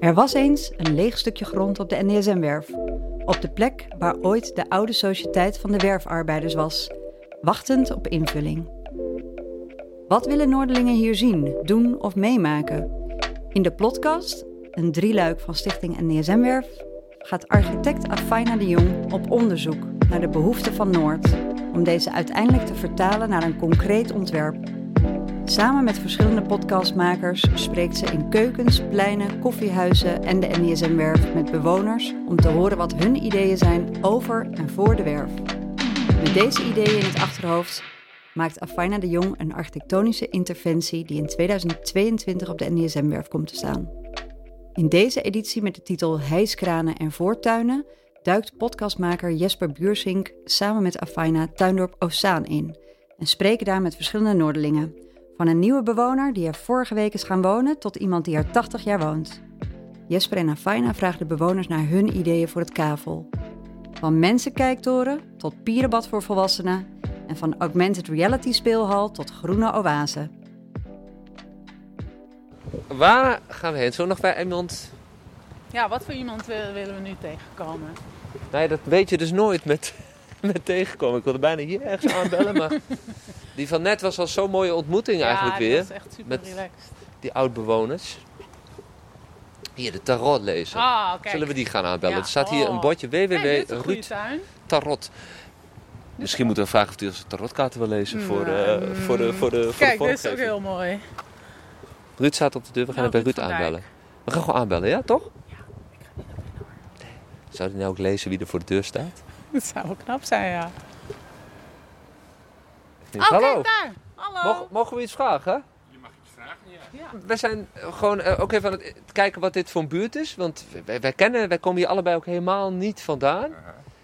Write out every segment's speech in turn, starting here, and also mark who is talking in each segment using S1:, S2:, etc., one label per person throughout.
S1: Er was eens een leeg stukje grond op de NDSM-werf. Op de plek waar ooit de oude sociëteit van de werfarbeiders was, wachtend op invulling. Wat willen Noorderlingen hier zien, doen of meemaken? In de podcast, een drieluik van Stichting NDSM-werf, gaat architect Afaina de Jong op onderzoek naar de behoeften van Noord, om deze uiteindelijk te vertalen naar een concreet ontwerp. Samen met verschillende podcastmakers spreekt ze in keukens, pleinen, koffiehuizen en de NDSM-werf met bewoners om te horen wat hun ideeën zijn over en voor de werf. Met deze ideeën in het achterhoofd maakt Afaina de Jong een architectonische interventie die in 2022 op de NDSM-werf komt te staan. In deze editie met de titel Hijskranen en voortuinen duikt podcastmaker Jesper Buursink samen met Afaina Tuindorp Ozaan in en spreken daar met verschillende Noorderlingen. Van een nieuwe bewoner die er vorige week is gaan wonen tot iemand die er 80 jaar woont. Jesper en Afaina vragen de bewoners naar hun ideeën voor het kavel. Van mensenkijktoren tot pierenbad voor volwassenen en van augmented reality speelhal tot groene oase.
S2: Waar gaan we heen? Zo nog bij iemand?
S3: Ja, wat voor iemand wil- willen we nu tegenkomen?
S2: Nee, dat weet je dus nooit met, met tegenkomen. Ik wilde bijna hier ergens aanbellen, maar die van net was al zo'n mooie ontmoeting eigenlijk
S3: ja,
S2: weer.
S3: dat is echt super
S2: Met-
S3: relaxed.
S2: Die oudbewoners. Hier, de tarot lezen.
S3: Ah, kijk.
S2: Zullen we die gaan aanbellen?
S3: Ja,
S2: Er staat hier
S3: oh.
S2: een bordje
S3: Kijk, dit is een goede
S2: www.ruud
S3: tuin.
S2: Tarot. Misschien moeten we vragen of hij onze tarotkaarten wil lezen voor, de-
S3: Nou,
S2: voor de, voor de, voor
S3: Kijk,
S2: de
S3: dit is ook
S2: vormgeving.
S3: heel mooi.
S2: Ruud staat op de deur, we gaan
S3: Nou,
S2: het bij
S3: Ruud
S2: Ruud
S3: van Dijk.
S2: aanbellen. We gaan gewoon aanbellen, ja toch? Zou hij nou ook lezen wie er voor de deur staat?
S3: Dat zou wel knap zijn, ja. Oh,
S2: Hallo!
S3: kijk daar! Hallo!
S2: Mogen, mogen we iets vragen? Je mag iets vragen, ja. We zijn eh, gewoon eh, ook even aan het eh, kijken wat dit voor een buurt is. Want wij, wij kennen, wij komen hier allebei ook helemaal niet vandaan.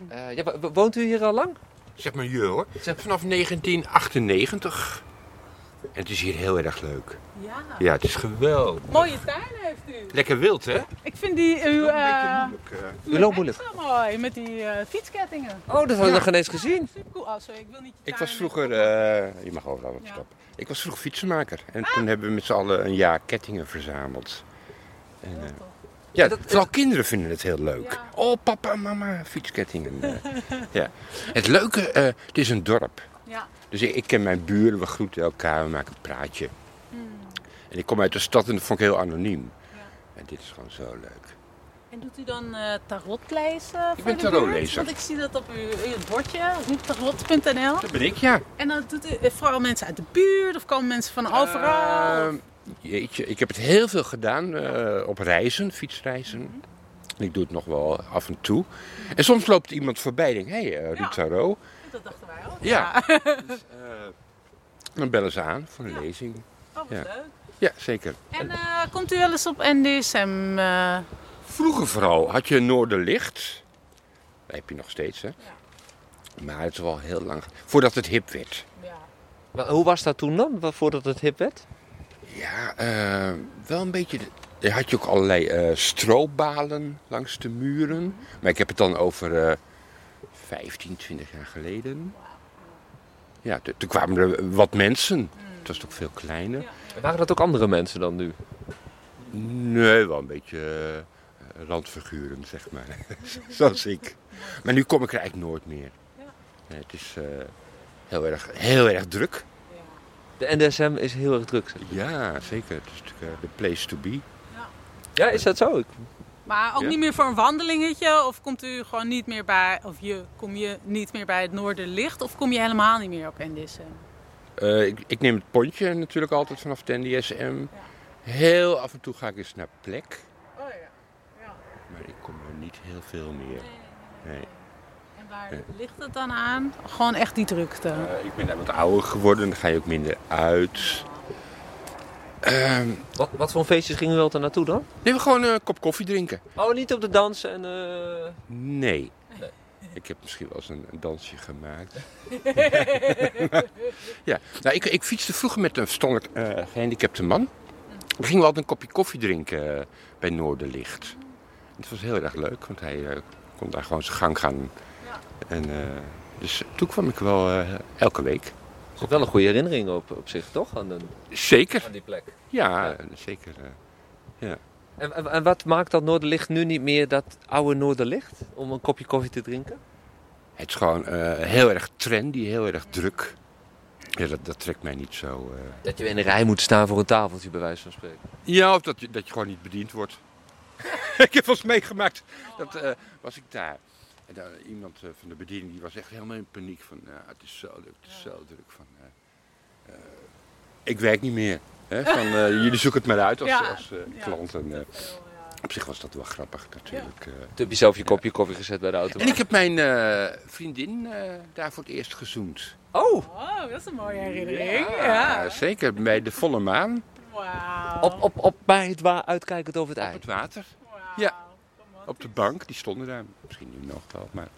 S2: Eh, ja, wo- woont u hier al lang?
S4: Zeg maar je hoor. Vanaf 1998. En het is hier heel erg leuk.
S3: Ja.
S4: Ja, het is geweldig.
S3: Mooie tuin heeft u.
S4: Lekker wild, hè?
S3: Ik vind die uw... eh,
S2: U loopt
S3: uw
S2: moeilijk.
S3: extra mooi, met die eh, fietskettingen.
S2: Oh, dat had ik nog geen eens gezien.
S3: Super cool. Oh, sorry, ik wil niet je
S4: Ik
S3: tuin-
S4: was vroeger... eh, je mag overal wat
S3: Ja.
S4: stappen. Ik was vroeger fietsenmaker. En toen hebben we met z'n allen een jaar kettingen verzameld. En, eh, ja,
S2: dat-
S4: vooral kinderen vinden het heel leuk.
S3: Ja.
S4: Oh, papa, mama, fietskettingen. eh. ja. Het leuke, eh, het is een dorp.
S3: Ja.
S4: Dus ik, ik ken mijn buren, we groeten elkaar, we maken een praatje.
S3: Hmm.
S4: En ik kom uit de stad en dat vond ik heel anoniem. En dit is gewoon zo leuk.
S3: En doet u dan eh tarotlezen? voor
S4: ben
S3: de buurt?
S4: tarotlezer.
S3: Want ik zie dat op uw, in het bordje, roettarot.nl.
S4: Dat ben ik, ja.
S3: En dan doet u eh, vooral mensen uit de buurt of komen mensen van overal?
S4: Ehm, jeetje, ik heb het heel veel gedaan eh, op reizen, fietsreizen. En Ik doe het nog wel af en toe. En soms loopt iemand voorbij en denk hé, hey, eh, Ruud
S3: Ja.
S4: Tarot.
S3: dat dachten wij ook.
S4: Ja. Dus, eh, dan bellen ze aan voor een lezing.
S3: Oh, wat
S4: Ja.
S3: leuk.
S4: Ja, zeker.
S3: En eh, komt u wel eens op NDSM? eh,
S4: Vroeger vooral had je Noorderlicht. Dat heb je nog steeds, hè? Maar het is wel heel lang... ge- Voordat het hip werd.
S3: ja.
S2: Maar hoe was dat toen dan, wa- voordat het hip werd?
S4: Ja, eh, wel een beetje... Je had je ook allerlei eh stroopbalen langs de muren. Maar ik heb het dan over eh, 15, 20 jaar geleden. Ja, t- toen kwamen er wat mensen. Het was toch veel kleiner.
S2: Waren dat ook andere mensen dan nu?
S4: Nee, wel een beetje eh, randfiguren, zeg maar. Zoals ik. Maar nu kom ik er eigenlijk nooit meer. Nee, het is eh, heel, erg, heel erg druk.
S2: De NDSM is heel erg druk. zeg.
S4: Ja, zeker. Het is natuurlijk eh, de place to be.
S2: Ja, is dat zo? Ik-
S3: Maar ook
S4: Ja.
S3: niet meer voor een wandelingetje? Of komt u gewoon niet meer bij, of je, kom je niet meer bij het Noorderlicht? Of kom je helemaal niet meer op NDSM?
S4: Eh, ik, ik neem het pontje natuurlijk altijd vanaf de NDSM. Heel af en toe ga ik eens naar plek.
S3: Oh ja.
S4: Maar ik kom er niet heel veel meer. Nee.
S3: En waar
S4: Ja.
S3: ligt het dan aan? Gewoon echt die drukte.
S4: Eh, ik ben daar wat ouder geworden, dan ga je ook minder uit. Ehm,
S2: Wat, wat voor feestjes gingen we altijd naartoe dan?
S4: nee, we gewoon een kop koffie drinken.
S2: Oh, niet op de dansen en... eh,
S4: Nee. Ik heb misschien wel eens een, een dansje gemaakt. ja, nou, ik, ik fietste vroeger met een verstandelijk eh, gehandicapte man. We gingen wel altijd een kopje koffie drinken eh, bij Noorderlicht. Het was heel erg leuk, want hij eh, kon daar gewoon zijn gang gaan. En, eh, dus toen kwam ik wel eh, elke week.
S2: is wel een goede herinnering op, op zich, toch? Aan, een-
S4: Zeker.
S2: aan die plek.
S4: Ja, zeker. eh.
S2: En, en, en wat maakt dat Noorderlicht nu niet meer dat oude Noorderlicht? Om een kopje koffie te drinken?
S4: Het is gewoon eh, heel erg trendy, heel erg druk. Ja, dat, dat trekt mij niet zo. eh.
S2: Dat je in de rij moet staan voor een tafeltje, bij wijze van spreken.
S4: Ja, of dat je, dat je gewoon niet bediend wordt. ik heb wel eens meegemaakt. Dat eh, was ik daar. En dan, iemand eh, van de bediening die was echt helemaal in paniek. Van, ja, het is zo druk, het is zo druk. Van, eh, eh, ik werk niet meer. Hè? Van, eh, jullie zoeken het maar uit als,
S3: Ja,
S4: als eh,
S3: ja.
S4: klant. En, eh, op zich was dat wel grappig natuurlijk. eh.
S2: Toen heb je zelf je kopje koffie gezet bij de auto.
S4: En ik heb mijn eh, vriendin eh, daar voor het eerst gezoend.
S2: Oh!
S3: Oh, dat is een mooie herinnering. Ja.
S4: Zeker bij de volle maan
S3: Wauw.
S2: Op, op, op bij het waar uitkijkend over het
S4: op
S2: ei.
S4: het water.
S3: Wauw.
S4: Ja. Op de bank, die stonden daar. Misschien nu nog wel, maar...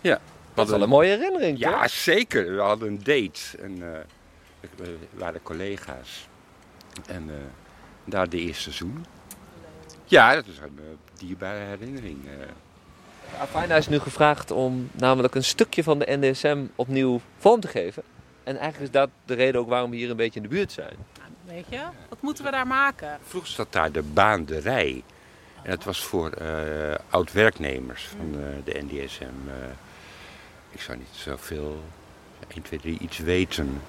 S4: Ja.
S2: Dat is wel een mooie herinnering,
S4: Ja,
S2: toch?
S4: zeker. We hadden een date. En eh, we waren collega's. En eh, daar de eerste zoen. Ja, dat is een eh, dierbare herinnering. eh.
S2: Afina is nu gevraagd om namelijk een stukje van de NDSM opnieuw vorm te geven. En eigenlijk is dat de reden ook waarom we hier een beetje in de buurt zijn.
S3: Weet je, wat moeten we daar maken?
S4: Vroeger zat daar de baanderij. En dat was voor eh oud-werknemers van eh, de NDSM. eh. ik zou niet zoveel, 1, 2, 3, iets weten.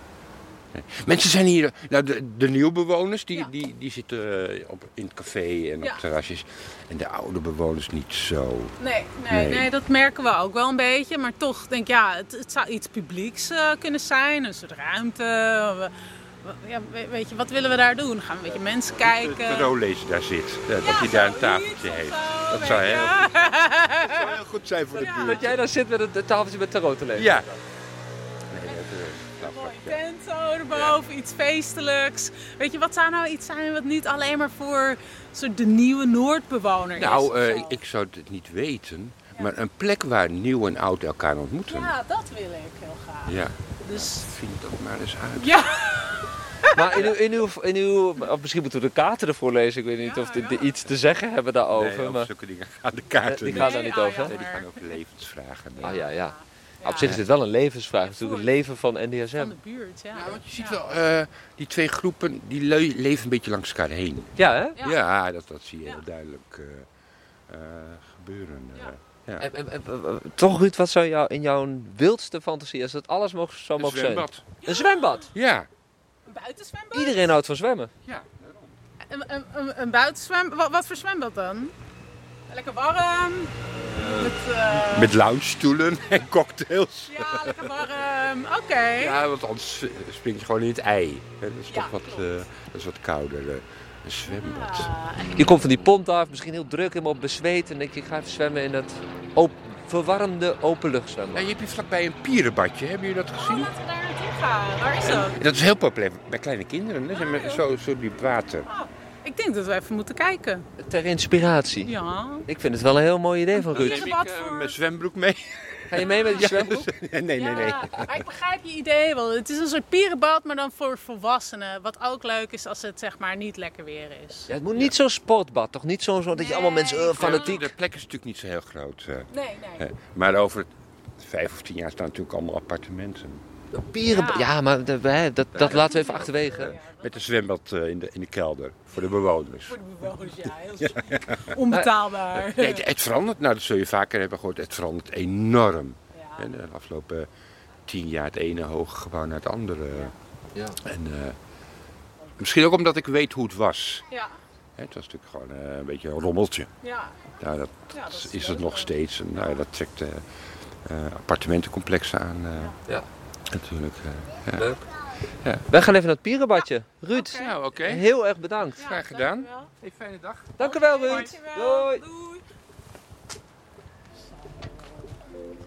S4: Nee. Mensen zijn hier, nou de, de nieuwe bewoners die,
S3: Ja.
S4: die, die zitten eh, op, in het café en
S3: Ja.
S4: op terrasjes. En de oude bewoners niet zo.
S3: Nee, nee,
S4: Nee.
S3: nee, dat merken we ook wel een beetje. Maar toch denk ik, ja, het, het zou iets publieks eh, kunnen zijn. Een soort ruimte. We- we- ja, we- weet je, wat willen we daar doen? Gaan we een beetje mensen
S4: De,
S3: kijken?
S4: de roolezer daar zit, eh,
S3: eh, Ja,
S4: dat hij daar een
S3: zoiets
S4: tafeltje
S3: of
S4: heeft.
S3: zo,
S4: Dat
S3: weet
S4: zou
S3: je.
S4: heel, dat zou heel goed zijn voor de buurt.
S2: Dat jij daar zit met het het tafeltje met tarot te lezen.
S4: Ja. Nee, dat, eh, snap
S3: Mooie
S4: ik, ja.
S3: tent zo erboven, iets feestelijks. Weet je, wat zou nou iets zijn wat niet alleen maar voor soort de nieuwe Noordbewoner is?
S4: Nou,
S3: of
S4: eh,
S3: zo?
S4: ik, ik zou het niet weten, maar een plek waar nieuw en oud elkaar ontmoeten.
S3: Ja, dat wil ik heel graag.
S4: Ja,
S3: Dus
S4: vind dat maar eens uit.
S3: ja,
S2: Maar in uw, in uw, in uw, of misschien moeten we de kaarten ervoor lezen. Ik weet niet
S3: Ja,
S2: of die,
S3: ja.
S2: die iets te zeggen hebben daarover.
S4: Nee, over
S2: maar...
S4: zulke dingen gaan de kaarten
S2: Die
S4: niet.
S2: gaan
S3: Nee,
S2: daar niet
S3: ah,
S2: over.
S3: ja.
S4: Nee, die gaan over levensvragen.
S2: Ah ja, ja.
S3: Ja.
S2: Op zich is dit wel een levensvraag. Het is natuurlijk het
S3: voor-
S2: leven van NDSM.
S3: van de buurt, ja.
S4: Ja, want je ziet
S3: Ja.
S4: wel, eh, die twee groepen die le- leven een beetje langs elkaar heen.
S2: Ja, hè?
S3: Ja.
S4: Ja, dat, dat zie je heel
S3: Ja.
S4: duidelijk eh, eh, gebeuren. eh.
S3: Ja.
S4: Ja.
S2: En- en- en- en- toch, Ruud, wat zou jou, in jouw wildste fantasie, als dat alles mocht, zou
S4: Een
S2: mogen zijn?
S4: zwembad.
S2: Een zwembad.
S4: Ja.
S3: Een buitenzwembad?
S2: Iedereen houdt van zwemmen.
S4: ja.
S3: Een, een, een, een buitenzwembad? Wat, wat voor zwembad dan? Lekker warm. met, eh,
S4: Met loungestoelen en cocktails.
S3: Ja, lekker warm. Oké.
S4: Ja, want anders eh, spring je gewoon in het ei. Hè, Dat is
S3: Ja,
S4: toch wat,
S3: klopt.
S4: eh, dat is wat kouder. eh, een zwembad.
S3: Ah, en-
S2: Je komt van die pont af, misschien heel druk, helemaal bezweet. En denk je, ik ga even zwemmen in dat op, verwarmde
S4: Ja,
S2: openluchtzwembad.
S4: je hebt hier vlakbij een pierenbadje, hebben jullie dat
S3: Oh,
S4: gezien?
S3: laten we daar naartoe gaan. Waar is dat?
S4: Dat is heel populair bij kleine kinderen. Hè? Ze hebben zo, zo diep water.
S3: Ik denk dat we even moeten kijken.
S2: Ter inspiratie.
S3: Ja.
S2: Ik vind het wel een heel mooi idee van Ruud.
S3: Neem ik, eh, voor- mijn
S4: zwembroek mee?
S2: Ga je mee met die zwembroek?
S4: nee, nee, nee.
S3: Ja, maar ik begrijp je idee wel. Het is een soort pierenbad, maar dan voor volwassenen. Wat ook leuk is als het zeg maar niet lekker weer is.
S2: Ja, het moet niet zo'n sportbad, toch? Niet zo'n zo dat je allemaal mensen eh,
S3: Nee.
S2: fanatiek.
S4: De plek is natuurlijk niet zo heel groot. eh,
S3: Nee, nee.
S4: hè. Maar over vijf of tien jaar staan natuurlijk allemaal appartementen.
S2: Pieren. Ja, maar de- hè, dat, dat laten we even achterwege.
S4: Met een zwembad eh, in, de, in de kelder voor de bewoners.
S3: Voor de bewoners, ja. Heel chic. Onbetaalbaar.
S4: Ja, het, het verandert, nou dat zul je vaker hebben gehoord, het verandert enorm.
S3: Ja.
S4: En de afgelopen tien jaar het ene hoge gebouw naar het andere.
S2: Ja.
S4: En, eh, misschien ook omdat ik weet hoe het was.
S3: Ja.
S4: Hè, Het was natuurlijk gewoon eh, een beetje een rommeltje.
S3: Ja.
S4: Nou, dat
S3: Ja, dat
S4: is,
S3: leuk.
S4: het nog steeds. En, nou, ja, dat trekt eh, eh, appartementencomplexen aan. eh,
S2: Ja.
S4: Natuurlijk. eh.
S2: Leuk.
S4: Ja.
S2: Wij gaan even naar het pierenbadje. Ruud,
S3: Oké.
S4: Nou, oké.
S2: heel erg bedankt.
S3: Ja,
S4: Graag gedaan.
S3: dankjewel.
S4: fijne dag.
S2: Dank u wel, Ruud.
S3: Dankjewel.
S2: Doei.
S3: dus. Doei.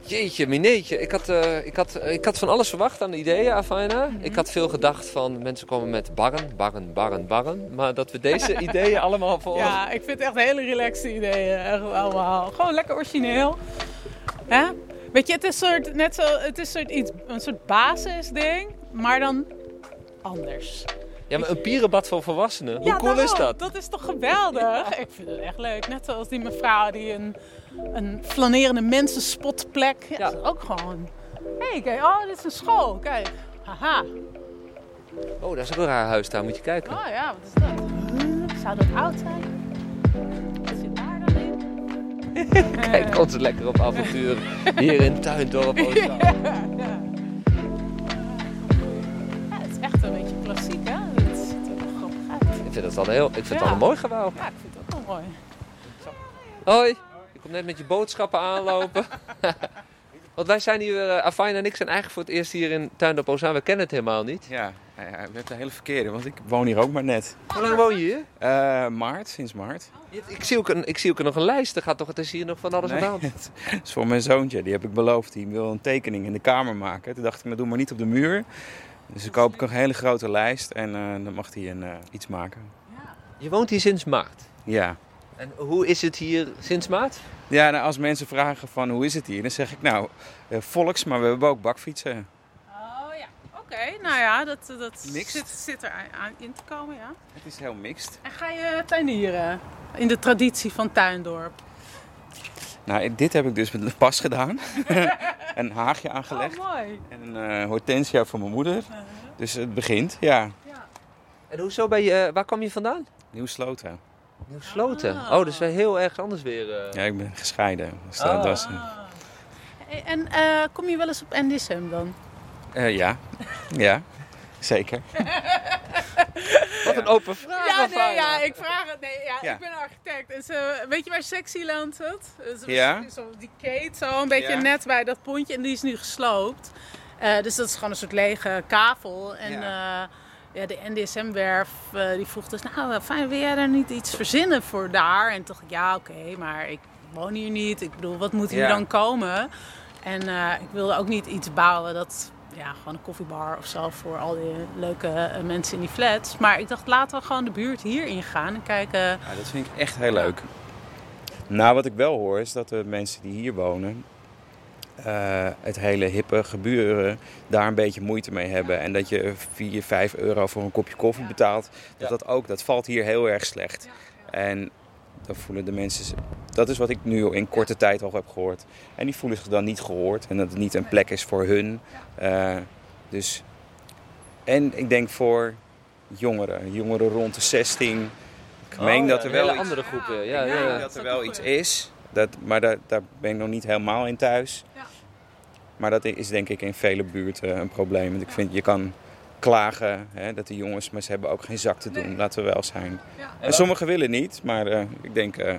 S2: Jeetje, mineetje. Ik had, eh, ik, had, ik had van alles verwacht aan de ideeën, Afina.
S3: Mhm.
S2: Ik had veel gedacht van mensen komen met barren, barren, barren, barren. Maar dat we deze ideeën allemaal voor ons...
S3: Ja, ik vind het echt hele relaxte ideeën. Echt allemaal. Gewoon lekker origineel. Hè? Weet je, het is, soort, net zo, het is soort iets, een soort basisding, maar dan anders.
S2: Ja, maar een pierenbad voor volwassenen. Hoe
S3: Ja,
S2: cool is
S3: daarom.
S2: dat?
S3: Dat is toch geweldig? Ik vind het echt leuk. Net zoals die mevrouw die een, een flanerende mensenspotplek. Ja,
S2: Ja.
S3: Dat is ook gewoon... Hé, kijk, oh, dit is een school. Kijk. Aha.
S2: Oh, daar is ook een raar huis daar, moet je kijken.
S3: Oh ja, wat is dat? Huh? Zou dat oud zijn? Wat zit daar dan in?
S2: Kijk ons lekker op avontuur hier in Tuindorp. oh, Oostzaan.
S3: Ja, het is echt een beetje klassiek, hè? Het ziet er wel grappig uit.
S2: Ik vind het wel een heel, ik vind het
S3: Ja.
S2: wel een mooi gebouw.
S3: Ja, ik vind het ook wel mooi.
S2: Hoi, je komt net met je boodschappen aanlopen. Want wij zijn hier, eh, Afijn en ik zijn eigenlijk voor het eerst hier in Tuindorp Ozaan. We kennen het helemaal niet.
S5: Ja, nou ja, we hebben de hele verkeerde, want ik woon hier ook maar net.
S2: Hoe lang woon je hier?
S5: Eh, maart, sinds maart.
S2: Je hebt- Ik zie ook, een, ik zie ook nog een lijst. Er gaat toch, het is hier nog van alles
S5: Nee,
S2: gedaan.
S5: het is voor mijn zoontje, die heb ik beloofd. Die wil een tekening in de kamer maken. Toen dacht ik, nou doe maar niet op de muur. Dus dan koop ik een hele grote lijst en eh, dan mag hij een, eh, iets maken.
S2: Je woont hier sinds maart.
S5: Ja.
S2: En hoe is het hier sinds maart?
S5: Ja, nou, als mensen vragen van hoe is het hier, dan zeg ik nou, eh, volks, maar we hebben ook bakfietsen.
S3: Oh ja, oké. Nou ja, dat, dat
S5: Mixed.
S3: zit, zit er aan, aan in te komen, ja.
S5: Het is heel mixed.
S3: En ga je tuinieren? In de traditie van Tuindorp.
S5: Nou, dit heb ik dus met een pas gedaan. een haagje aangelegd.
S3: Oh, mooi. Uh-huh.
S5: En een eh, hortensia voor mijn moeder. Dus het begint, ja.
S2: En hoezo ben je, eh, waar kom je vandaan?
S5: Nieuw sloten.
S2: Nieuw Sloten.
S3: Ah.
S2: Oh, dat is wel heel erg anders weer. eh.
S5: Ja, ik ben gescheiden. Dus dat,
S2: Oh.
S5: dat is-
S3: Ah. Hey, En eh, kom je wel eens op NDSM dan?
S5: eh, ja. ja, zeker.
S2: Wat een open vraag.
S3: Ja, nee,
S2: Afijn.
S3: ja, ik vraag het. Nee, ja,
S5: Ja.
S3: ik ben architect. En ze, weet je waar Sexyland zit? Eh, zo-
S5: Ja.
S3: zo- die kate, zo een beetje
S5: Ja.
S3: net bij dat pontje. En die is nu gesloopt. Eh, dus dat is gewoon een soort lege kavel. En eh, ja, ja de NDSM-werf eh, die vroeg dus... Nou, eh, fijn, wil jij daar niet iets verzinnen voor daar? En toen dacht ik, ja, oké, maar ik woon hier niet. Ik bedoel, wat moet hier
S5: Ja.
S3: dan komen? En eh, ik wilde ook niet iets bouwen dat... Ja, gewoon een koffiebar of zo voor al die leuke eh, mensen in die flats. Maar ik dacht, laten we gewoon de buurt hier ingaan en kijken.
S5: Ja, dat vind ik echt heel leuk. Nou, wat ik wel hoor is dat de mensen die hier wonen... eh, het hele hippe gebeuren daar een beetje moeite mee hebben. En dat je 4, 5 euro voor een kopje koffie betaalt. Dat, dat, ook, dat valt hier heel erg slecht. En dan voelen de mensen... zich- Dat is wat ik nu in korte tijd al heb gehoord. En die voelen zich dan niet gehoord. En dat het niet een plek is voor hun. Eh, dus... En ik denk voor jongeren. Jongeren rond de 16. Ik meen
S2: Oh, ja,
S5: dat er
S2: een
S5: wel
S2: hele
S5: iets
S2: andere groepen. Ja,
S3: Ja,
S5: ik
S2: ja,
S5: denk
S2: ja.
S5: dat er
S3: Dat
S5: wel
S3: is
S5: iets
S3: een
S5: is, dat, maar daar, daar ben ik nog niet helemaal in thuis.
S3: Ja.
S5: Maar dat is denk ik in vele buurten een probleem. Want ik vind, je kan klagen hè, dat die jongens, maar ze hebben ook geen zak te doen.
S3: Nee.
S5: Laten we wel zijn.
S3: Ja.
S5: En sommigen willen niet, maar eh, ik denk... eh,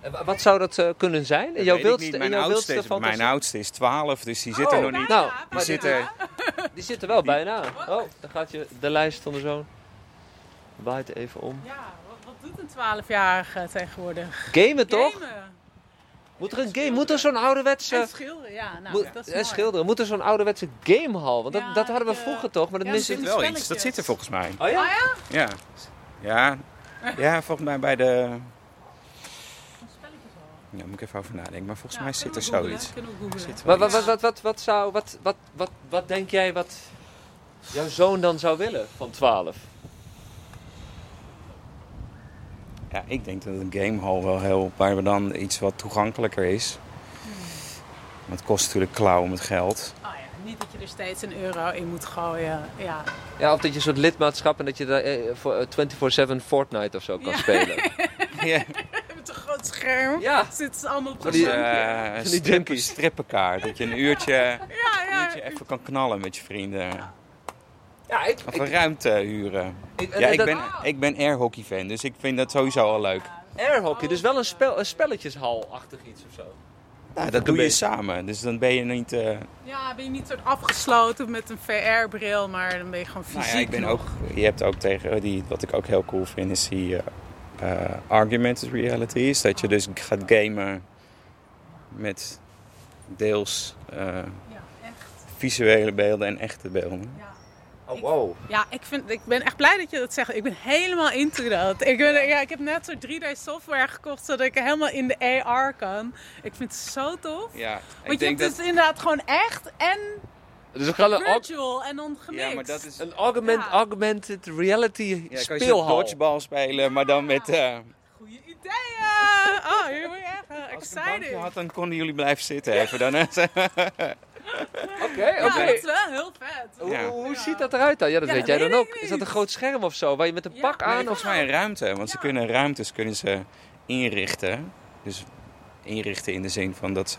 S2: En wa- Wat zou dat eh, kunnen zijn?
S5: dat
S2: In jouw
S5: weet ik
S2: wildste,
S5: niet.
S2: in jouw
S5: Mijn, oudste
S2: wildste
S5: is, mijn
S2: fantasie?
S5: oudste is 12, dus die zit er nog niet.
S2: Nou,
S5: Die
S2: maar
S5: zit
S2: dit-
S5: er...
S2: Die zit er wel bijna. Oh, dan gaat je de lijst van de zoon. Waait even om.
S3: Ja, wat, wat doet een 12-jarige tegenwoordig?
S2: Gamen toch?
S3: Gamen.
S2: Moet er een game? Moet er zo'n ouderwetse.
S3: En schilderen, ja. Nou,
S2: moet-
S5: eh,
S3: dat is
S2: en
S3: mooi.
S2: schilderen. Moet er zo'n ouderwetse gamehal? Want dat,
S3: Ja,
S2: dat hadden we
S3: de-
S2: vroeger toch? Maar dat
S3: ja,
S2: mis
S3: de
S2: ik.
S5: Er zit wel iets, dat zit er volgens mij.
S2: Oh ja?
S5: Ja, ja, ja volgens mij bij de... Ja, moet ik even over nadenken, maar volgens
S3: Ja,
S5: mij
S3: kunnen
S5: zit
S3: we
S5: er
S3: googlen,
S5: zoiets.
S3: kunnen we googlen.
S5: Zit
S2: Maar
S5: wel
S2: wat,
S5: iets.
S2: wat, wat, wat, wat zou. Wat, wat, wat, wat denk jij wat jouw zoon dan zou willen van 12?
S5: Ja, ik denk dat een gamehall wel heel... waar we dan iets wat toegankelijker is. Want het kost natuurlijk klauwen met geld.
S3: Oh ja, niet dat je er steeds een euro in moet gooien. Ja,
S2: Ja, of dat je een soort lidmaatschap en dat je daar eh, voor, eh, 24-7 Fortnite of zo kan
S3: Ja.
S2: spelen.
S5: Ja,
S3: met een groot scherm.
S2: Ja.
S3: Zitten ze allemaal op
S2: Van
S3: de
S2: die-
S3: zon.
S5: eh
S2: die
S5: strippen,
S2: junkies.
S5: strippenkaart. Dat je een uurtje,
S3: Ja,
S5: een
S3: ja.
S5: uurtje even kan knallen met je vrienden.
S2: Ja, ik.
S5: Of
S2: ik-
S5: een ruimte huren.
S2: ik- en
S5: Ja, ik
S2: dat-
S5: ben, ik ben airhockey fan, dus ik vind dat sowieso al leuk.
S2: Airhockey, dus wel een, spel, een spelletjeshal-achtig iets of zo.
S5: Nou,
S2: een
S5: dat doe je
S2: beetje.
S5: samen, dus dan ben je niet... eh,
S3: Ja, ben je niet soort afgesloten met een VR-bril, maar dan ben je gewoon fysiek
S5: Nou ja, ik ben
S3: nog.
S5: ook, je hebt ook tegen, die, wat ik ook heel cool vind, is die eh, eh, augmented reality. Is dat je dus gaat gamen met deels eh,
S3: Ja, echt.
S5: visuele beelden en echte beelden.
S3: Ja.
S2: Oh, wow.
S3: Ja, ik, vind, ik ben echt blij dat je dat zegt. Ik ben helemaal into dat. Ik, ben, ja, ik heb net zo'n 3D-software gekocht, zodat ik helemaal in de AR kan. Ik vind het zo tof.
S5: Ja,
S3: Want je hebt dus inderdaad gewoon echt en
S2: Dus we gaan een, aug-
S3: virtual en dan dus gemixt.
S5: Ja, maar dat is...
S2: een augment,
S3: Ja.
S2: augmented reality
S5: Ja, kan je zo'n
S2: speelhal.
S5: dodgeball spelen, maar dan met... eh
S3: Goeie ideeën! Oh, hier ben je echt eh,
S5: als ik een bankje
S3: excited.
S5: had, dan konden jullie blijven zitten even. Dan, eh,
S2: Oké,
S3: Ja, dat
S2: oké.
S3: is wel heel vet.
S2: Hoe-
S5: Ja.
S2: Hoe ziet dat eruit dan? Ja, dat
S3: Ja,
S2: weet
S3: dat
S2: jij dan
S3: weet
S2: ook.
S3: ik
S2: Is dat een
S3: niet.
S2: groot scherm of zo? Waar je met een
S3: Ja,
S2: pak
S3: nee,
S2: aan
S5: Volgens
S2: of
S5: mij een ruimte, want ze
S3: Ja.
S5: kunnen ruimtes kunnen ze inrichten. Dus inrichten in de zin van dat ze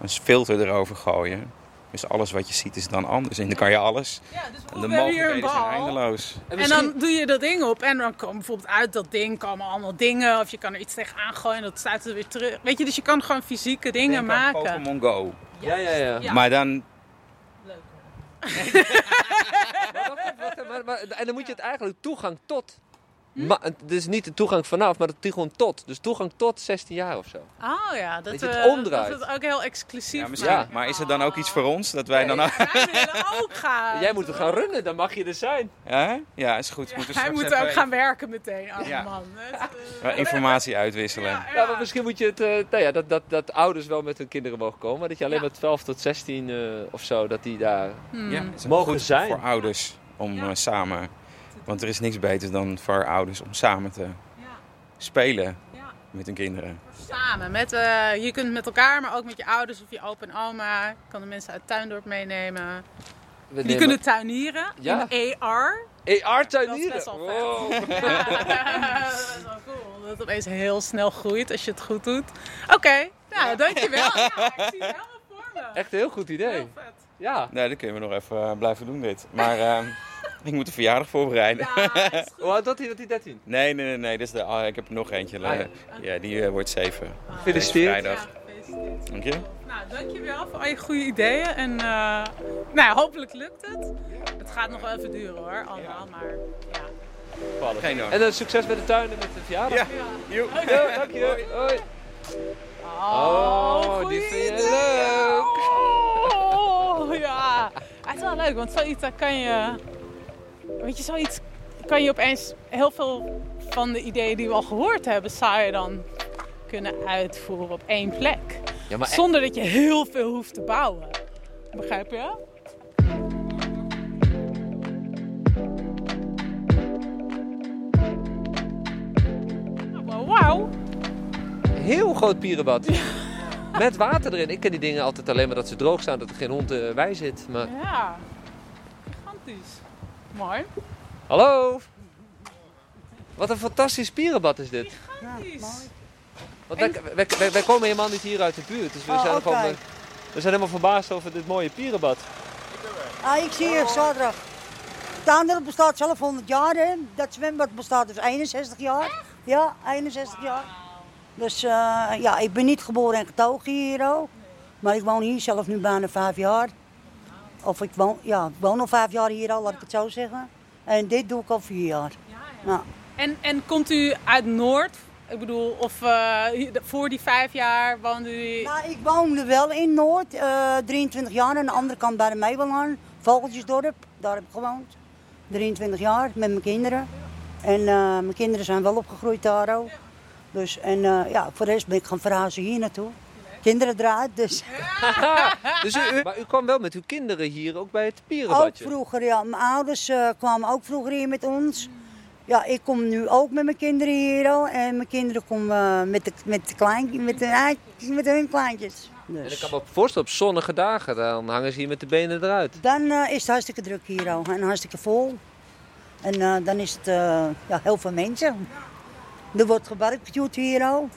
S5: een filter erover gooien. Dus alles wat je ziet is dan anders. En dan kan je alles.
S3: Ja, dus
S5: En
S3: we
S5: de
S3: hebben hier een
S5: mogelijkheden zijn
S3: bal.
S5: eindeloos.
S3: En dan doe je dat ding op en dan komen bijvoorbeeld uit dat ding komen allemaal dingen. Of je kan er iets tegenaan gooien en dat staat er weer terug. Weet je, dus je kan gewoon fysieke dingen
S5: Denk aan
S3: maken.
S5: Pokémon Go.
S2: Ja, ja, ja.
S3: Ja.
S5: Maar dan
S3: Leuk.
S2: Maar wacht even, wacht even, maar- maar- En dan moet je het eigenlijk toegang tot.
S3: Hm?
S2: Ma- het is niet de toegang vanaf, maar de toegang tot. Dus toegang tot 16 jaar of zo.
S3: Oh ja, dat,
S2: Dat je het
S3: eh,
S2: omdraait.
S3: dat het ook heel exclusief
S5: Ja, misschien.
S3: maakt.
S2: Ja.
S5: Maar is er dan ook iets voor ons dat wij dan ook...
S3: Wij willen ook gaan.
S2: Jij moet er gaan runnen, dan mag je er zijn.
S5: Ja, ja is goed. Moeten we
S3: Hij
S5: straks
S3: moet
S5: even
S3: ook gaan werken meteen. Oh
S5: Ja.
S3: man. Het, eh,
S5: wel informatie uitwisselen.
S3: ja,
S2: Ja, maar misschien moet je het, eh, nou ja, dat, dat, dat ouders wel met hun kinderen mogen komen. Maar dat je alleen
S3: Ja.
S2: maar 12 tot 16 eh, of zo, dat die daar...
S3: Hmm.
S5: Ja, is het
S2: Mogen
S5: Mm. goed
S2: zijn.
S5: voor ouders om
S3: Ja.
S5: eh, samen... Want er is niks beter dan voor ouders om samen te
S3: Ja.
S5: spelen
S3: Ja.
S5: met hun kinderen.
S3: Samen. Met, eh, je kunt met elkaar, maar ook met je ouders of je opa en oma. Je kan de mensen uit Tuindorp meenemen.
S2: We
S3: Die kunnen tuinieren
S2: Ja.
S3: in AR. Dat is
S2: AR-tuinieren.
S3: best wel vet. Ja, dat is wel cool. Dat het opeens heel snel groeit als je het goed doet. Oké, nou dankjewel. Ja, ik zie het helemaal voor me.
S2: Echt een heel goed idee.
S3: Heel vet.
S2: Ja.
S5: Nee, dat kunnen we nog even eh, blijven doen dit. Maar eh, ik moet de verjaardag voorbereiden.
S3: Ja, is goed.
S2: Hoe oud dat hij dat hij 13?
S5: Nee, nee, nee. nee dit is de, ah, ik heb er nog eentje.
S2: Ah, ja.
S5: Eh, ja. die eh, wordt zeven.
S3: Ah.
S2: Gefeliciteerd.
S5: Vrijdag.
S3: Ja, gefeliciteerd.
S5: Dank je.
S3: Nou, dankjewel voor al je goede ideeën. En eh, nou, ja, hopelijk lukt het. Het gaat nog wel even duren hoor, allemaal. Maar ja.
S5: Geen dank.
S2: En dan succes met de tuin en met de verjaardag.
S5: Ja. Joep.
S2: Ja, dank je. Hoi.
S3: Oh,
S2: die
S3: goeie
S2: vind je
S3: idee.
S2: leuk.
S3: Oh, ja. Het is wel leuk, want zoiets daar kan je... Weet je, zoiets kan je opeens heel veel van de ideeën die we al gehoord hebben... zou je dan kunnen uitvoeren op één plek.
S2: Ja, maar
S3: Zonder dat je heel veel hoeft te bouwen. Begrijp je? Nou, Wauw.
S2: heel groot pierenbad. Met water erin. Ik ken die dingen altijd alleen maar dat ze droog staan, dat er geen hond eh, bij zit. Maar...
S3: Ja, gigantisch. Mooi.
S2: Hallo! Wat een fantastisch pierenbad is dit.
S3: Gigantisch.
S2: Want wij, wij, wij, wij komen helemaal niet hier uit de buurt. Dus we
S6: Oh,
S2: zijn
S6: oké.
S2: gewoon, eh, we zijn helemaal verbaasd over dit mooie pierenbad.
S6: Ah, ik zie je zaterdag. De andere bestaat zelf 100 jaar, hè. Dat zwembad bestaat dus 61 jaar. Ja, 61 jaar. Dus eh, ja, ik ben niet geboren en getogen hier ook. Maar ik woon hier zelf nu bijna vijf jaar. Of ik woon, ja, ik woon al vijf jaar hier al, laat ik het zo zeggen. En dit doe ik al vier jaar. Ja.
S3: En, en komt u uit Noord? Ik bedoel, of eh, hier- de- voor die vijf jaar woonde u...
S6: Nou, ik woonde wel in Noord, eh, 23 jaar. Aan de andere kant bij de Meibelaan, Vogeltjesdorp. Daar heb ik gewoond. 23 jaar met mijn kinderen. En eh, mijn kinderen zijn wel opgegroeid daar ook. Dus, en eh, ja, voor de rest ben ik gaan verhuizen hier naartoe. Kinderen eruit, dus
S2: Dus u, u- maar u kwam wel met uw kinderen hier ook bij het
S6: ook
S2: pierenbadje.
S6: Oh, vroeger, ja. Mijn ouders eh, kwamen ook vroeger hier met ons. Ja, ik kom nu ook met mijn kinderen hier al. En mijn kinderen komen eh, met, de, met, de klein, met, de, eh, met hun kleintjes.
S2: En ik
S6: Dus.
S2: kan me voorstellen, op zonnige dagen, dan hangen ze hier met de benen eruit.
S6: Dan eh, is het hartstikke druk hier al en hartstikke vol. En eh, dan is het eh, ja, heel veel mensen. Er wordt gebarbecued hier al.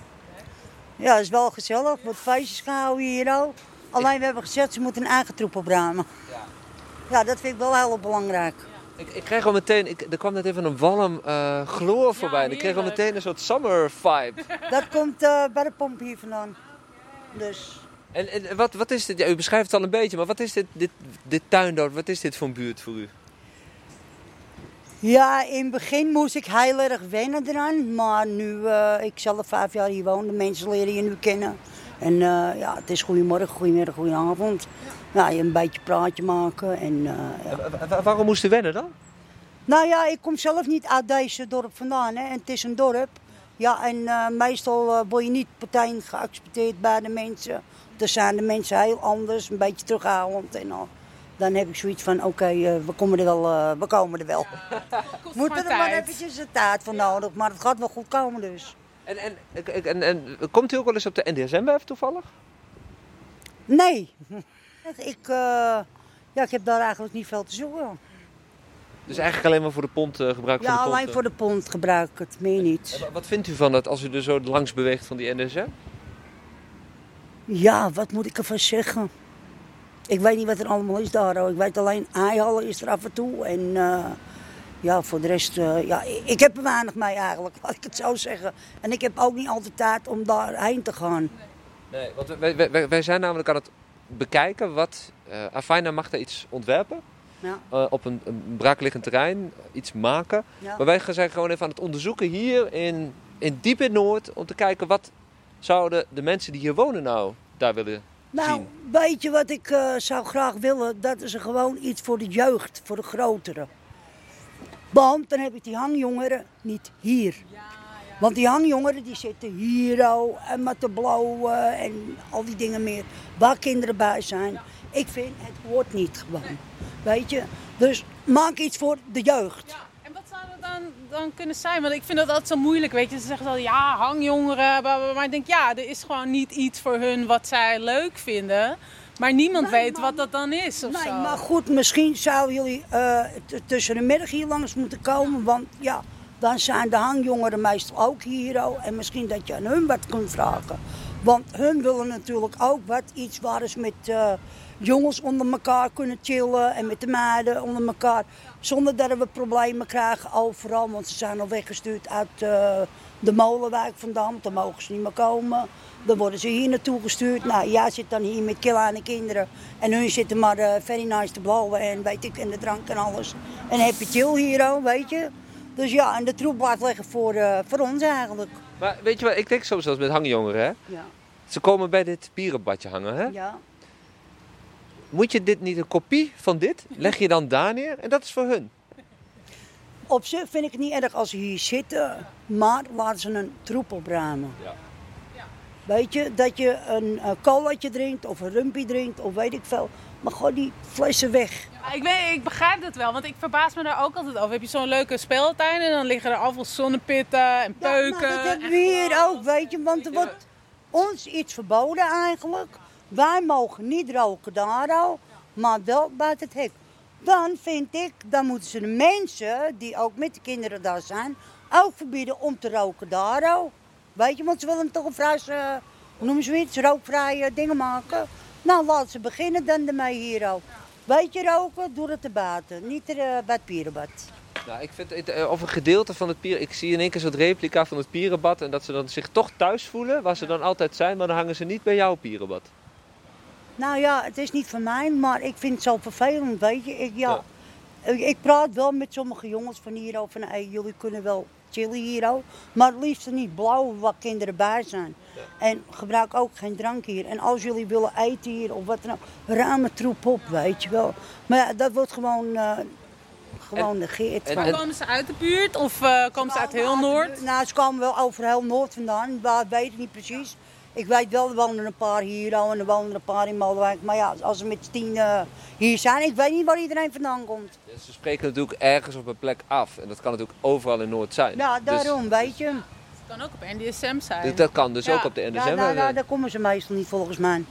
S6: Ja, het is wel gezellig. Er wordt feestjes gehouden hier al. Alleen we hebben gezegd, ze moeten een eigen troep opruimen. Ja, dat vind ik wel heel belangrijk.
S2: Ik, ik kreeg al meteen, ik, er kwam net even een walm eh, gloor voorbij. en ik kreeg al
S3: heerlijk.
S2: meteen een soort summer vibe.
S6: Dat komt eh, bij de pomp hier vandaan. Dus
S2: en en wat, wat is dit? Ja, u beschrijft het al een beetje, maar wat is dit, dit, dit tuindorp? Wat is dit voor een buurt voor u?
S6: ja, in het begin moest ik heel erg wennen eraan. Maar nu eh, ik zelf vijf jaar hier woon, de mensen leren je nu kennen. En eh, ja, het is goedemorgen, goedemiddag, goedenavond. Ja, je een beetje praatje maken en eh, ja.
S2: Wa- wa- waarom moest u wennen dan?
S6: Nou ja, ik kom zelf niet uit deze dorp vandaan. Hè. En het is een dorp. Ja, en eh, meestal eh, word je niet partijen geaccepteerd bij de mensen. Dan zijn de mensen heel anders, een beetje terughoudend en al. Dan heb ik zoiets van, oké, eh, we komen er wel. eh, we komen er wel.
S3: Kost
S6: We moeten
S3: gewoon
S6: er maar
S3: tijd.
S6: eventjes de taart voor nodig, maar het gaat wel goed komen dus.
S2: En, en, ik- ik- en, en komt u ook wel eens op de NDSM-werf toevallig?
S6: Nee. Ik, eh, ja, ik heb daar eigenlijk niet veel te zoeken.
S2: Dus eigenlijk alleen maar voor de pont eh, gebruik
S6: Ja,
S2: van de pont.
S6: alleen
S2: eh.
S6: voor de pond gebruik ik het, meer niet.
S2: Wat vindt u van dat als u er zo langs beweegt van die NSM?
S6: Ja, wat moet ik ervan zeggen? Ik weet niet wat er allemaal is daar. hoor. Ik weet alleen, eihallen is er af en toe. En eh, ja, voor de rest, eh, ja, ik, ik heb er weinig mee eigenlijk, laat ik het zo zeggen. En ik heb ook niet altijd tijd om daarheen te gaan.
S2: Nee, want wij, wij- wij, wij zijn namelijk aan het bekijken wat... eh Afina mag daar iets ontwerpen.
S6: Ja.
S2: eh, op een, een braakliggend terrein, eh, iets maken.
S6: Ja.
S2: Maar wij zijn gewoon even aan het onderzoeken hier in, in diep in Noord... om te kijken wat zouden de mensen die hier wonen nou daar willen...
S6: Nou, weet je wat ik eh, zou graag willen? Dat is er gewoon iets voor de jeugd, voor de grotere. Want dan heb ik die hangjongeren niet hier. Want die hangjongeren die zitten hier al en met de blauwe en al die dingen meer. Waar kinderen bij zijn. Ik vind het hoort niet gewoon. Weet je? Dus maak iets voor de jeugd.
S3: Ja, en wat zou dat dan, dan kunnen zijn? Want ik vind dat altijd zo moeilijk, weet je. Ze zeggen altijd, ja, hangjongeren, bla, bla, bla. maar ik denk, ja, er is gewoon niet iets voor hun wat zij leuk vinden. Maar niemand
S6: Nee,
S3: weet
S6: maar-
S3: wat dat dan is of
S6: Nee,
S3: zo.
S6: maar goed, misschien zouden jullie eh, t- tussen de middag hier langs moeten komen. Want ja, dan zijn de hangjongeren meestal ook hier. al. En misschien dat je aan hun wat kunt vragen. Want hun willen natuurlijk ook wat. Iets waar ze met eh, jongens onder elkaar kunnen chillen. En met de meiden onder elkaar. Zonder dat we problemen krijgen overal. Want ze zijn al weggestuurd uit eh, de molenwijk vandaan. Want dan mogen ze niet meer komen. Dan worden ze hier naartoe gestuurd. Nou, jij zit dan hier met kleine kinderen. En hun zitten maar eh very nice te blauwen en weet ik, en de drank en alles. En heb je chill hier al, weet je. Dus ja, en de troep blijft liggen voor, eh, voor ons eigenlijk.
S2: Maar weet je wat, ik denk soms zelfs met hangjongeren, hè?
S6: Ja,
S2: Ze komen bij dit bierenbadje hangen, hè?
S6: ja.
S2: Moet je dit niet een kopie van dit? Leg je dan daar neer en dat is voor hun.
S6: Op zich vind ik het niet erg als ze hier zitten, maar laten ze een troep opruimen.
S2: Ja.
S6: Weet je, dat je een eh colaatje drinkt of een rumpie drinkt of weet ik veel. Maar gooi die flessen weg.
S3: Ja, Ik, weet, ik begrijp dat wel, want ik verbaas me daar ook altijd over. Heb je zo'n leuke speeltuin en dan liggen er afval zonnepitten en
S6: Ja, nou,
S3: peuken.
S6: dat
S3: en
S6: hebben we hier
S3: glas.
S6: ook, weet je. Want er wordt ons iets verboden eigenlijk. Wij mogen niet roken daar al, maar wel buiten het hek. Dan vind ik, dan moeten ze de mensen die ook met de kinderen daar zijn, ook verbieden om te roken daar al. Weet je, want ze willen toch een vrij, eh, hoe noemen ze iets, rookvrije dingen maken. Nou, laten ze beginnen dan ermee hier al. Weet je, roken, doe het erbuiten, niet er, eh, bij het pierenbad.
S2: Nou, ik vind het, eh, of een gedeelte van het pier. Ik zie in één keer zo'n replica van het pierenbad. En dat ze dan zich toch thuis voelen, waar ze dan altijd zijn. Maar dan hangen ze niet bij jouw pierenbad.
S6: Nou ja, het is niet van mij, maar ik vind het zo vervelend, weet je. Ik, ja,
S2: Ja.
S6: Ik- Ik praat wel met sommige jongens van hier over, van, hey, jullie kunnen wel chillen hier ook, maar het liefst niet blauwen waar kinderen bij zijn. En gebruik ook geen drank hier. En als jullie willen eten hier of wat dan ook, ruim het troep op, weet je wel. Maar ja, dat wordt gewoon, eh, gewoon negeerd.
S2: en-
S6: van.
S3: Maar komen ze uit de buurt of eh, komen ze uit heel Noord?
S6: Nou, ze komen wel over heel Noord vandaan, waar weet ik niet precies. Ik weet wel, er wonen een paar hier al en er wonen een paar in Molenwijk. Maar ja, als ze met z'n tien eh, hier zijn, ik weet niet waar iedereen vandaan komt.
S2: Ze spreken natuurlijk ergens op een plek af. En dat kan natuurlijk overal in Noord zijn.
S6: Ja, Nou, daarom, weet je.
S3: Het kan ook op NDSM zijn.
S2: Dus, dat kan dus
S3: Ja.
S2: ook op de NSM.
S6: Ja, nou,
S2: zijn.
S6: nou, daar komen ze meestal niet volgens mij.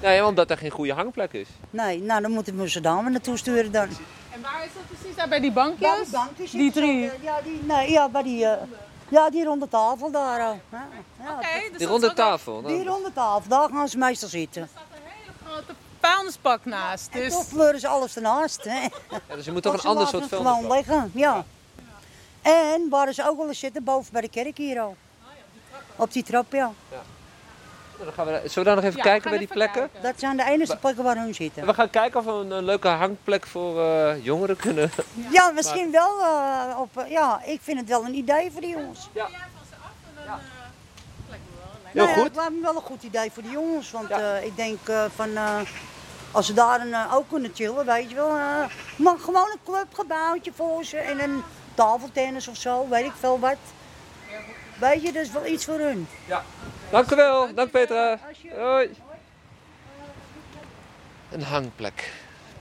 S2: Nee, omdat er geen goede hangplek
S3: Dus
S2: is.
S6: Nee, nou dan moeten we ze daar maar naartoe sturen dan.
S3: En waar is dat precies? Daar bij die bankjes? die
S6: zitten
S3: drie.
S6: zo, eh, Ja, die, nee, ja, bij die, eh, ja, die ronde tafel daar. eh. Ja, ja,
S3: Oké, dus
S2: Die
S3: dat
S2: ronde
S3: is ook wel-
S2: tafel. nou,
S6: Die ronde tafel, daar gaan ze meestal zitten.
S3: Er staat een hele grote vuilnisbak naast. Dus
S6: Toch fleuren ze alles ernaast. Hè.
S2: ja, dus je moet toch
S6: Want
S2: een
S6: ze
S2: ander
S6: laten
S2: soort
S6: het
S2: film.
S6: gewoon liggen, ja. En waar ze ook wel eens zitten, boven bij de kerk hier al. Op die trap, ja.
S2: Dan gaan we, daar- zullen we daar nog even
S3: Ja, we
S2: kijken bij
S3: gaan
S2: die
S3: even
S2: plekken?
S3: kijken.
S6: Dat zijn de enige plekken waar hun zitten.
S2: We gaan kijken of we een, een leuke hangplek voor eh, jongeren kunnen.
S6: Ja, misschien wel. eh, op, eh, ja, ik vind het wel een idee voor die jongens.
S2: Ja.
S3: Ja, van ze af en dan... eh, lijkt me wel een lekker-
S2: Heel
S6: Nou ja,
S2: goed.
S6: het lijkt me wel een goed idee voor de jongens. Want
S2: Ja.
S6: eh, ik denk eh, van, eh, als ze daar een, eh, ook kunnen chillen, weet je wel. eh, maar gewoon een clubgebouwtje voor ze en een tafeltennis of zo, weet ik veel wat. Weet je, dat is wel iets voor hun.
S2: Dank u wel. Dank Petra. Hoi. Een hangplek.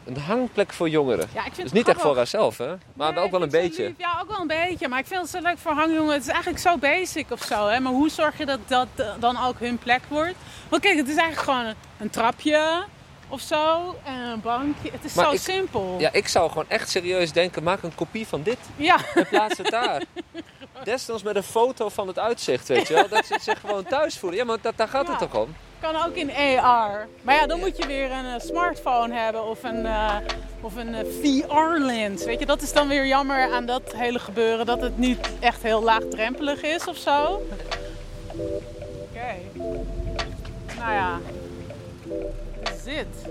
S2: Een hangplek voor jongeren.
S3: Ja, ik vind
S2: Dus
S3: het
S2: niet echt
S3: grappig.
S2: voor haarzelf, hè? Maar
S3: Nee,
S2: ook wel een
S3: ik vind het zo
S2: beetje.
S3: lief. Ja, ook wel een beetje. Maar ik vind het zo leuk voor hangjongen. Het is eigenlijk zo basic of zo. Hè? Maar hoe zorg je dat dat eh, dan ook hun plek wordt? Want kijk, het is eigenlijk gewoon een, een trapje. of zo. En een bankje. Het is
S2: Maar
S3: zo
S2: ik-
S3: simpel.
S2: Ja, ik zou gewoon echt serieus denken, maak een kopie van dit
S3: Ja.
S2: en plaats het daar. Desnoods met een foto van het uitzicht, weet je wel. Dat ze zich gewoon thuis voelen. Ja, maar dat, daar gaat het
S3: Ja.
S2: toch om?
S3: Kan ook in AR. Maar ja, dan moet je weer een eh, smartphone hebben of een, eh, of een VR-lens. Weet je, dat is dan weer jammer aan dat hele gebeuren dat het niet echt heel laagdrempelig is of zo. Oké. Nou ja. Zit.